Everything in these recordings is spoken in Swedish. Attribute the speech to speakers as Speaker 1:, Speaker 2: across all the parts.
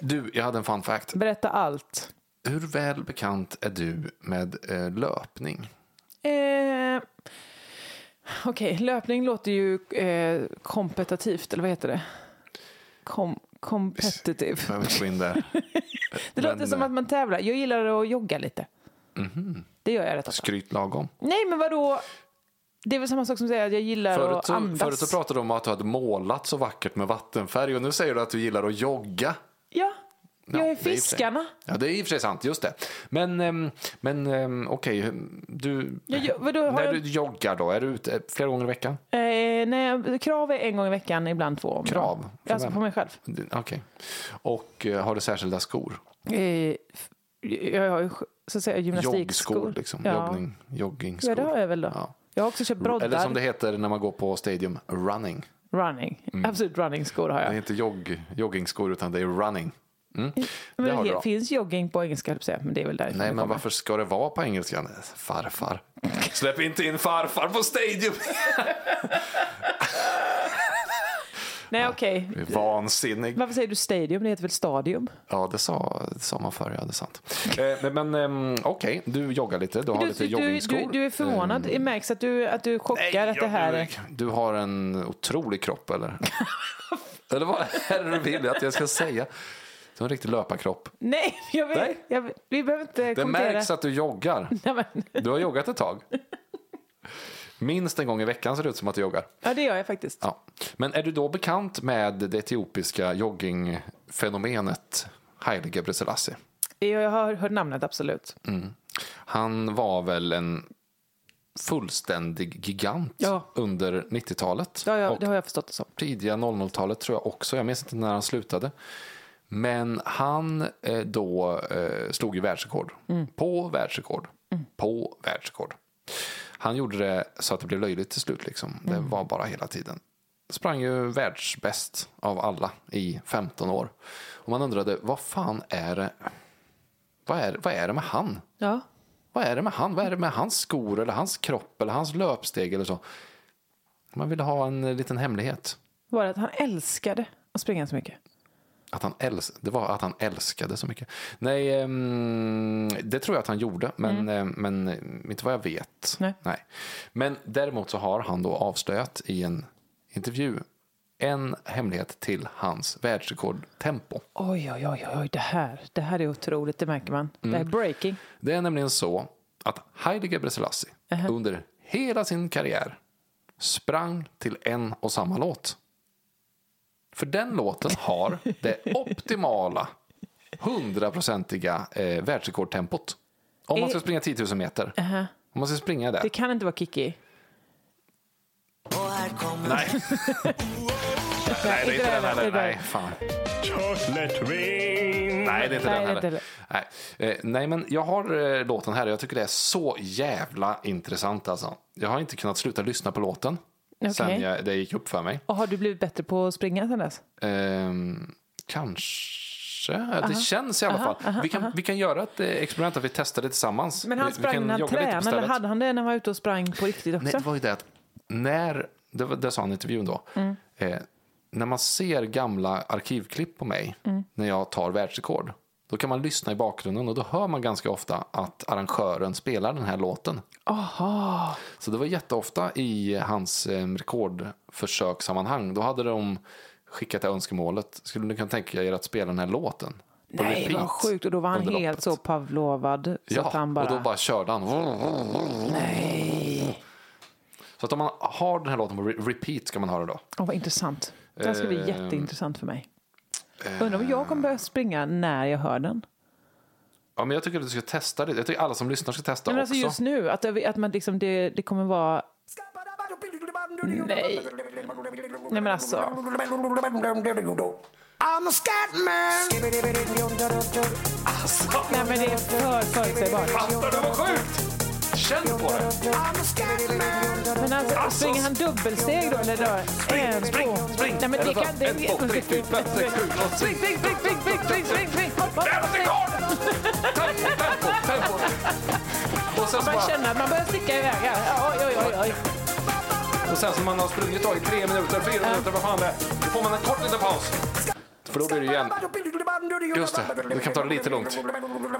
Speaker 1: Du, jag hade en fun fact.
Speaker 2: Berätta allt.
Speaker 1: Hur väl bekant är du med eh, löpning?
Speaker 2: Eh, Okej, löpning låter ju eh, kompetitivt, eller vad heter det? Kom, competitive.
Speaker 1: Jag vill inte gå in där.
Speaker 2: Det låter
Speaker 1: Men,
Speaker 2: som
Speaker 1: eh,
Speaker 2: att man tävlar. Jag gillar att jogga lite.
Speaker 1: Mhm.
Speaker 2: Det gör jag rätt ofta.
Speaker 1: Skryt lagom.
Speaker 2: Nej, men vadå? Det är väl samma sak som att säga att jag gillar
Speaker 1: Förut
Speaker 2: att
Speaker 1: så,
Speaker 2: andas.
Speaker 1: förut så pratade du om att du hade målat så vackert med vattenfärg och nu säger du att du gillar att jogga.
Speaker 2: ja,
Speaker 1: Ja,
Speaker 2: jag är
Speaker 1: det i och för sig-
Speaker 2: fiskarna.
Speaker 1: Ja, det är i och för sig sant. Just det. Men, ehm, men ehm, okej, du...
Speaker 2: Jag, jo- vadå, har
Speaker 1: När
Speaker 2: jag,
Speaker 1: du joggar då, är du ute flera gånger i veckan?
Speaker 2: eh, nej, krav är en gång i veckan, ibland två. om
Speaker 1: Krav?
Speaker 2: dagen.
Speaker 1: För
Speaker 2: Alltså
Speaker 1: vem?
Speaker 2: på mig själv.
Speaker 1: Okej. Och eh, har du särskilda skor? Mm.
Speaker 2: Eh, f- jag har ju så att säga, gymnastikskor.
Speaker 1: Joggskor liksom?
Speaker 2: Ja.
Speaker 1: Joggning, joggingskor?
Speaker 2: ja, det har jag väl då.
Speaker 1: Ja. Mm.
Speaker 2: Jag har också köpt
Speaker 1: Eller som det
Speaker 2: broddar.
Speaker 1: heter när man går på stadium, running.
Speaker 2: Running. Absolut runningsskor har
Speaker 1: Mm. Det är
Speaker 2: jag.
Speaker 1: inte jogg, joggingskor utan det är running. Mm.
Speaker 2: Men
Speaker 1: Det har
Speaker 2: det
Speaker 1: du då.
Speaker 2: finns jogging på engelska, höll jag på att säga, men det är väl därifrån
Speaker 1: Nej,
Speaker 2: det
Speaker 1: men
Speaker 2: kommer.
Speaker 1: varför ska det vara på engelska? Farfar. Släpp inte in farfar på stadium!
Speaker 2: Nej, okej.
Speaker 1: Det är Vansinnig.
Speaker 2: Varför säger du stadium? Det heter väl stadium?
Speaker 1: Ja, det sa, det sa man förr, ja, det är sant. Eh, men men ehm, okej, du joggar lite, du har
Speaker 2: Du,
Speaker 1: lite
Speaker 2: du, du,
Speaker 1: joggingskor. Mm.
Speaker 2: du, du är förvånad. Det märks att du, att du chockar att det
Speaker 1: jag-
Speaker 2: här är...
Speaker 1: Du har en otrolig kropp, eller? eller vad är det du vill att jag ska säga? Du har en riktig löparkropp.
Speaker 2: Nej, jag vill,
Speaker 1: Nej.
Speaker 2: Jag vill, vi behöver inte
Speaker 1: Det
Speaker 2: kommentera.
Speaker 1: märks att du joggar.
Speaker 2: Nej, men,
Speaker 1: Du har joggat ett tag. Minst en gång i veckan ser det ut som att du joggar.
Speaker 2: ja, det gör jag faktiskt.
Speaker 1: Ja. Men är du då bekant med det etiopiska joggingfenomenet Haile Gebrselassie?
Speaker 2: Jag har hört namnet, absolut.
Speaker 1: Mm. Han var väl en fullständig gigant
Speaker 2: Ja.
Speaker 1: under 90-talet.
Speaker 2: Ja, ja,
Speaker 1: och
Speaker 2: det har jag förstått det som.
Speaker 1: tidiga 00-talet tror jag också. Jag minns inte när han slutade. Men han eh, då eh, slog ju världsrekord. På världsrekord. På världsrekord. Han gjorde det så att det blev löjligt till slut. Liksom. Det var bara hela tiden. Sprang ju världsbäst av alla i 15 år. Och man undrade, vad fan är det? Vad är, vad är det med han?
Speaker 2: Ja.
Speaker 1: Vad är det med han? Vad är det med hans skor eller hans kropp eller hans löpsteg eller så? Man ville ha en eh, liten hemlighet.
Speaker 2: Var det att han älskade att springa så mycket?
Speaker 1: Att han äls- det var att han älskade så mycket. Nej, ehm, det tror jag att han gjorde, men, eh, men eh, inte vad jag vet.
Speaker 2: Nej.
Speaker 1: Men däremot så har han då avslöjat i en intervju en hemlighet till hans världsrekordtempo.
Speaker 2: Oj, oj, oj, oj, det här, det här är otroligt, det märker man. Det
Speaker 1: Mm.
Speaker 2: här är breaking.
Speaker 1: Det är nämligen så att Heidegger Gebrselassie under hela sin karriär sprang till en och samma låt. För den låten har det optimala, hundraprocentiga eh, världsrekordtempot. Om man ska
Speaker 2: Är-
Speaker 1: springa 10 000 meter. Om man ska springa där.
Speaker 2: Eh. Det kan inte vara Kiki.
Speaker 3: Och här kommer
Speaker 2: Nej,
Speaker 1: det är inte den heller. Nej, fan. Nej, det är inte
Speaker 2: Nej,
Speaker 1: den
Speaker 2: det är inte
Speaker 1: heller. Nej. Eh, nej, men jag har eh, låten här och jag tycker det är så jävla intressant alltså. Jag har inte kunnat sluta lyssna på låten
Speaker 2: Okej.
Speaker 1: sen jag, det gick upp för mig.
Speaker 2: Och har du blivit bättre på att springa sen dess?
Speaker 1: Ehm, kanske. Det känns i alla fall. vi, kan, vi kan göra ett eh, experiment där vi testar det tillsammans.
Speaker 2: Men han
Speaker 1: vi, vi
Speaker 2: sprang
Speaker 1: kan
Speaker 2: när han
Speaker 1: jogga lite på
Speaker 2: tränade, eller
Speaker 1: stället.
Speaker 2: hade han det när han var ute och sprang på riktigt också?
Speaker 1: Nej, det var ju det att när, det, var, det sa han i intervjun då,
Speaker 2: Mm.
Speaker 1: eh, när man ser gamla arkivklipp på mig
Speaker 2: Mm.
Speaker 1: när jag tar världsrekord, då kan man lyssna i bakgrunden och då hör man ganska ofta att arrangören spelar den här låten.
Speaker 2: Aha.
Speaker 1: Så det var jätteofta i hans eh, rekordförsökssammanhang. Då hade de skickat det önskemålet. Skulle ni kunna tänka er att spela den här låten? på
Speaker 2: Nej,
Speaker 1: repeat
Speaker 2: vad sjukt. Och då var han
Speaker 1: under
Speaker 2: helt
Speaker 1: loppet?
Speaker 2: så pavlovad. Så
Speaker 1: Ja,
Speaker 2: att han bara...
Speaker 1: och då bara körde han.
Speaker 2: Nej.
Speaker 1: Så att om man har den här låten på re- repeat ska man ha det då.
Speaker 2: Åh, vad intressant. Det här ska bli
Speaker 1: Ehm.
Speaker 2: jätteintressant för mig.
Speaker 1: eh,
Speaker 2: Undrar om jag kommer börja springa när jag hör den.
Speaker 1: Ja, men jag tycker att du ska testa det. Jag tycker alla som lyssnar ska testa
Speaker 2: Men
Speaker 1: också.
Speaker 2: alltså just nu, att, det- att man liksom, det, det kommer vara... Nej. Nej men alltså.
Speaker 3: I'm a scatman
Speaker 2: Nej men det är för förutsägbart.
Speaker 1: Fattar du vad sjukt? Känn på det!
Speaker 3: I'm a scatman
Speaker 2: Men alltså, springer han dubbelsteg då eller? Då? En, två. Nej men det kan... Det,
Speaker 1: En, två, tre, fyra, fem, sex, sju, åtta.
Speaker 2: Spring, spring, spring, spring, spring, spring, spring, spring. Hopp, hopp, hopp, spring.
Speaker 1: Tempo, tempo, tempo. Och sen, så
Speaker 2: Man
Speaker 1: bara,
Speaker 2: känner att man börjar sticka iväg här. Oj, oj, oj, oj.
Speaker 1: och sen som man har sprungit då i tre minuter, fyra minuter, vad fan det är. Då får man en kort liten paus. För då blir det ju igen. Just det, vi kan ta det lite lugnt.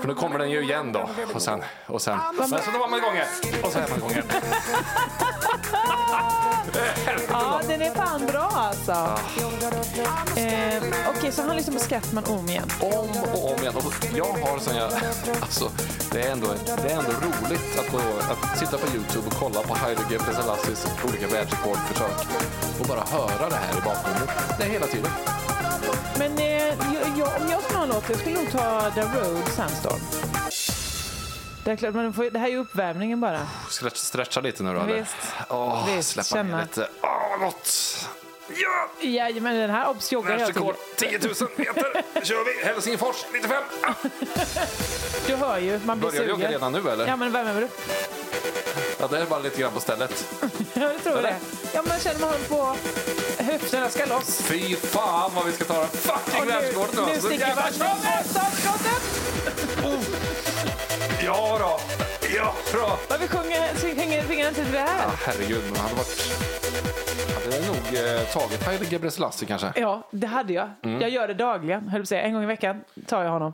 Speaker 1: För nu kommer den ju igen då. Och sen, och sen. Men så då var man igång igen. Och så är man igång igen.
Speaker 2: Ja, den är fan bra alltså.
Speaker 1: Ah.
Speaker 2: Eh, Okej, så han lyssnar på Scatman om igen.
Speaker 1: Om och om igen. Och jag har sen jag... Alltså, det är ändå, det är ändå roligt att, gå, att sitta på Youtube och kolla på Heidi G. Presalassis olika världsrekordförsök. Och bara höra det här i bakgrunden. Det är hela tiden.
Speaker 2: Men eh, jag, jag, om jag skulle ha en låt, jag skulle nog ta The Road Sandstorm. Det, är klart, man får, det här är ju uppvärmningen bara.
Speaker 1: Stretch, stretcha lite nu då. eller?
Speaker 2: Visst.
Speaker 1: Åh,
Speaker 2: Visst,
Speaker 1: släppa
Speaker 2: känna.
Speaker 1: ner lite. Åh, vad gott! Ja!
Speaker 2: Jajamän, den här obs joggar jag till.
Speaker 1: Världsrekord 10 000 meter. Nu kör vi. Helsingfors 95. Ah,
Speaker 2: Du hör ju, man blir
Speaker 1: Börjar jag jogga
Speaker 2: sugen.
Speaker 1: redan nu eller?
Speaker 2: Ja, men värmer du?
Speaker 1: Ja, det är bara lite grann på stället.
Speaker 2: Jag tror
Speaker 1: Eller?
Speaker 2: det. Ja, man känner man håller på höfterna ska loss.
Speaker 1: Fy fan vad vi ska ta den fucking
Speaker 2: Och
Speaker 1: världsrekorden
Speaker 2: nu, nu
Speaker 1: alltså.
Speaker 2: sticker vi.
Speaker 1: Jävla
Speaker 2: Stopp,
Speaker 1: kör!
Speaker 2: stopp, stopp!
Speaker 1: Ja då. Ja då.
Speaker 2: Vad vi sjunger, så hänger fingrarna till det här.
Speaker 1: Herregud, men hade varit... Hade jag nog eh, tagit Haile Gebrselassie kanske.
Speaker 2: Ja, det hade jag. Jag gör det dagligen, höll på att säga. En gång i veckan tar jag honom.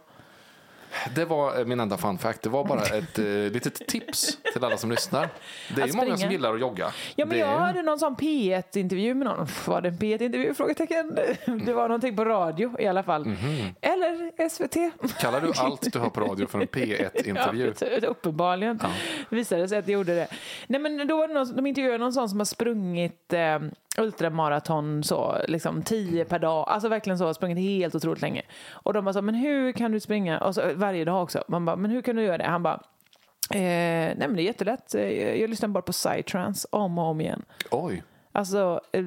Speaker 1: Det var eh, min enda fun fact. Det var bara ett eh, litet tips till alla som lyssnar. Det är
Speaker 2: Att
Speaker 1: ju många
Speaker 2: springa.
Speaker 1: som gillar att jogga.
Speaker 2: Ja, men
Speaker 1: det...
Speaker 2: jag hörde någon sån P1-intervju med någon. Pff, Var det en P1-intervju? Frågetecken. Det var någonting på radio i alla fall. Eller SVT.
Speaker 1: Kallar du allt du hör på radio för en P1-intervju?
Speaker 2: Ja, precis. uppenbarligen visade det sig att det gjorde det. Nej, men då var det någon, de intervjuade någon sån som har sprungit eh, ultramaraton så, liksom tio per dag. Alltså verkligen så, sprungit helt otroligt länge. Och de bara så, men hur kan du springa? Och så, varje dag också. Man bara, men hur kan du göra det? Han bara, eh, nej men det är jättelätt. Eh, Jag lyssnar bara på psytrance om och om igen.
Speaker 1: Oj.
Speaker 2: Alltså, eh,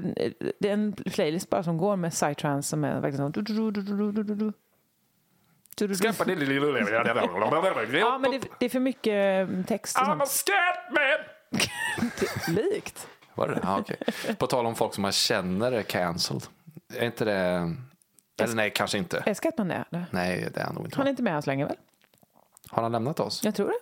Speaker 2: det är en playlist bara som går med psytrance som är verkligen så... du- du- du- du- du- du- du. Du- du- du-
Speaker 1: Skaffa det lilla...
Speaker 2: Ja, men det, det är för mycket eh, text och
Speaker 1: I'm a
Speaker 2: sånt. Typ
Speaker 1: scatman!
Speaker 2: Likt.
Speaker 1: Var det det? Ja, okej. På tal om folk som man känner är cancelled. Är inte det... Eller nej, kanske inte.
Speaker 2: Älskar att man är det.
Speaker 1: Nej, det är han nog inte.
Speaker 2: Han är inte med oss längre väl?
Speaker 1: Har han lämnat oss?
Speaker 2: Jag tror det.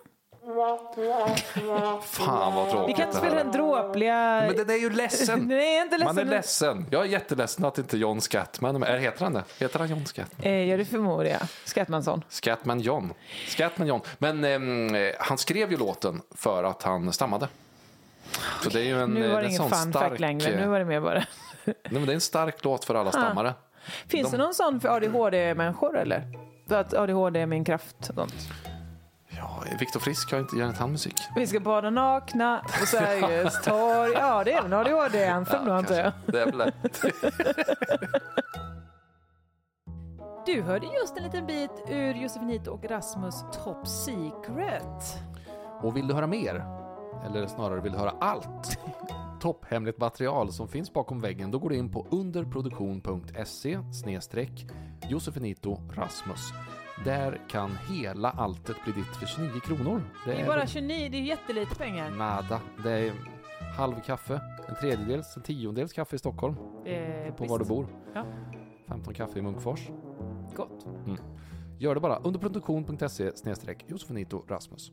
Speaker 1: Fan vad
Speaker 2: Vi
Speaker 1: tråkigt
Speaker 2: kan inte
Speaker 1: det
Speaker 2: spela
Speaker 1: här.
Speaker 2: den dråpliga...
Speaker 1: Men den är ju ledsen.
Speaker 2: Nej, jag är inte ledsen.
Speaker 1: Man är ledsen. Jag är jätteledsen att inte John Scatman är med. Eller Heter han det? Heter han John Scatman?
Speaker 2: Eh, ja, det förmodar jag. Skattmansson.
Speaker 1: Scatman John. Scatman John. Men ehm, eh, han skrev ju låten för att han stammade. Så det är ju en,
Speaker 2: Nu
Speaker 1: eh, det
Speaker 2: var
Speaker 1: är
Speaker 2: det
Speaker 1: en sån
Speaker 2: ingen fun
Speaker 1: stark, eh,
Speaker 2: fact längre. Nu var det mer bara...
Speaker 1: nej, men det är en stark låt för alla stammare.
Speaker 2: Finns det någon sån för ADHD-människor eller? För att ADHD är min kraft och sånt.
Speaker 1: Ja, Viktor Frisk har inte, gör inte han musik?
Speaker 2: Vi ska bada nakna på Sergels torg. Ja, det är väl en ADHD-anthem då antar jag.
Speaker 1: Det är väl det.
Speaker 2: Du hörde just en liten bit ur Josefinito och Rasmus Top Secret.
Speaker 1: Och vill du höra mer? Eller snarare vill du höra allt? Topphemligt material som finns bakom väggen då går du in på underproduktion.se Josefinito Rasmus. Där kan hela alltet bli ditt för 29 kronor.
Speaker 2: Det är
Speaker 1: är
Speaker 2: bara 29, det är ju jättelite pengar.
Speaker 1: nada. Det är halv kaffe, en tredjedels, en tiondels kaffe i Stockholm
Speaker 2: Eh,
Speaker 1: på var du
Speaker 2: visst.
Speaker 1: bor.
Speaker 2: Ja.
Speaker 1: 15 kaffe i Munkfors. Mm.
Speaker 2: Gott.
Speaker 1: Gör det bara underproduktion.se Josefinito Rasmus.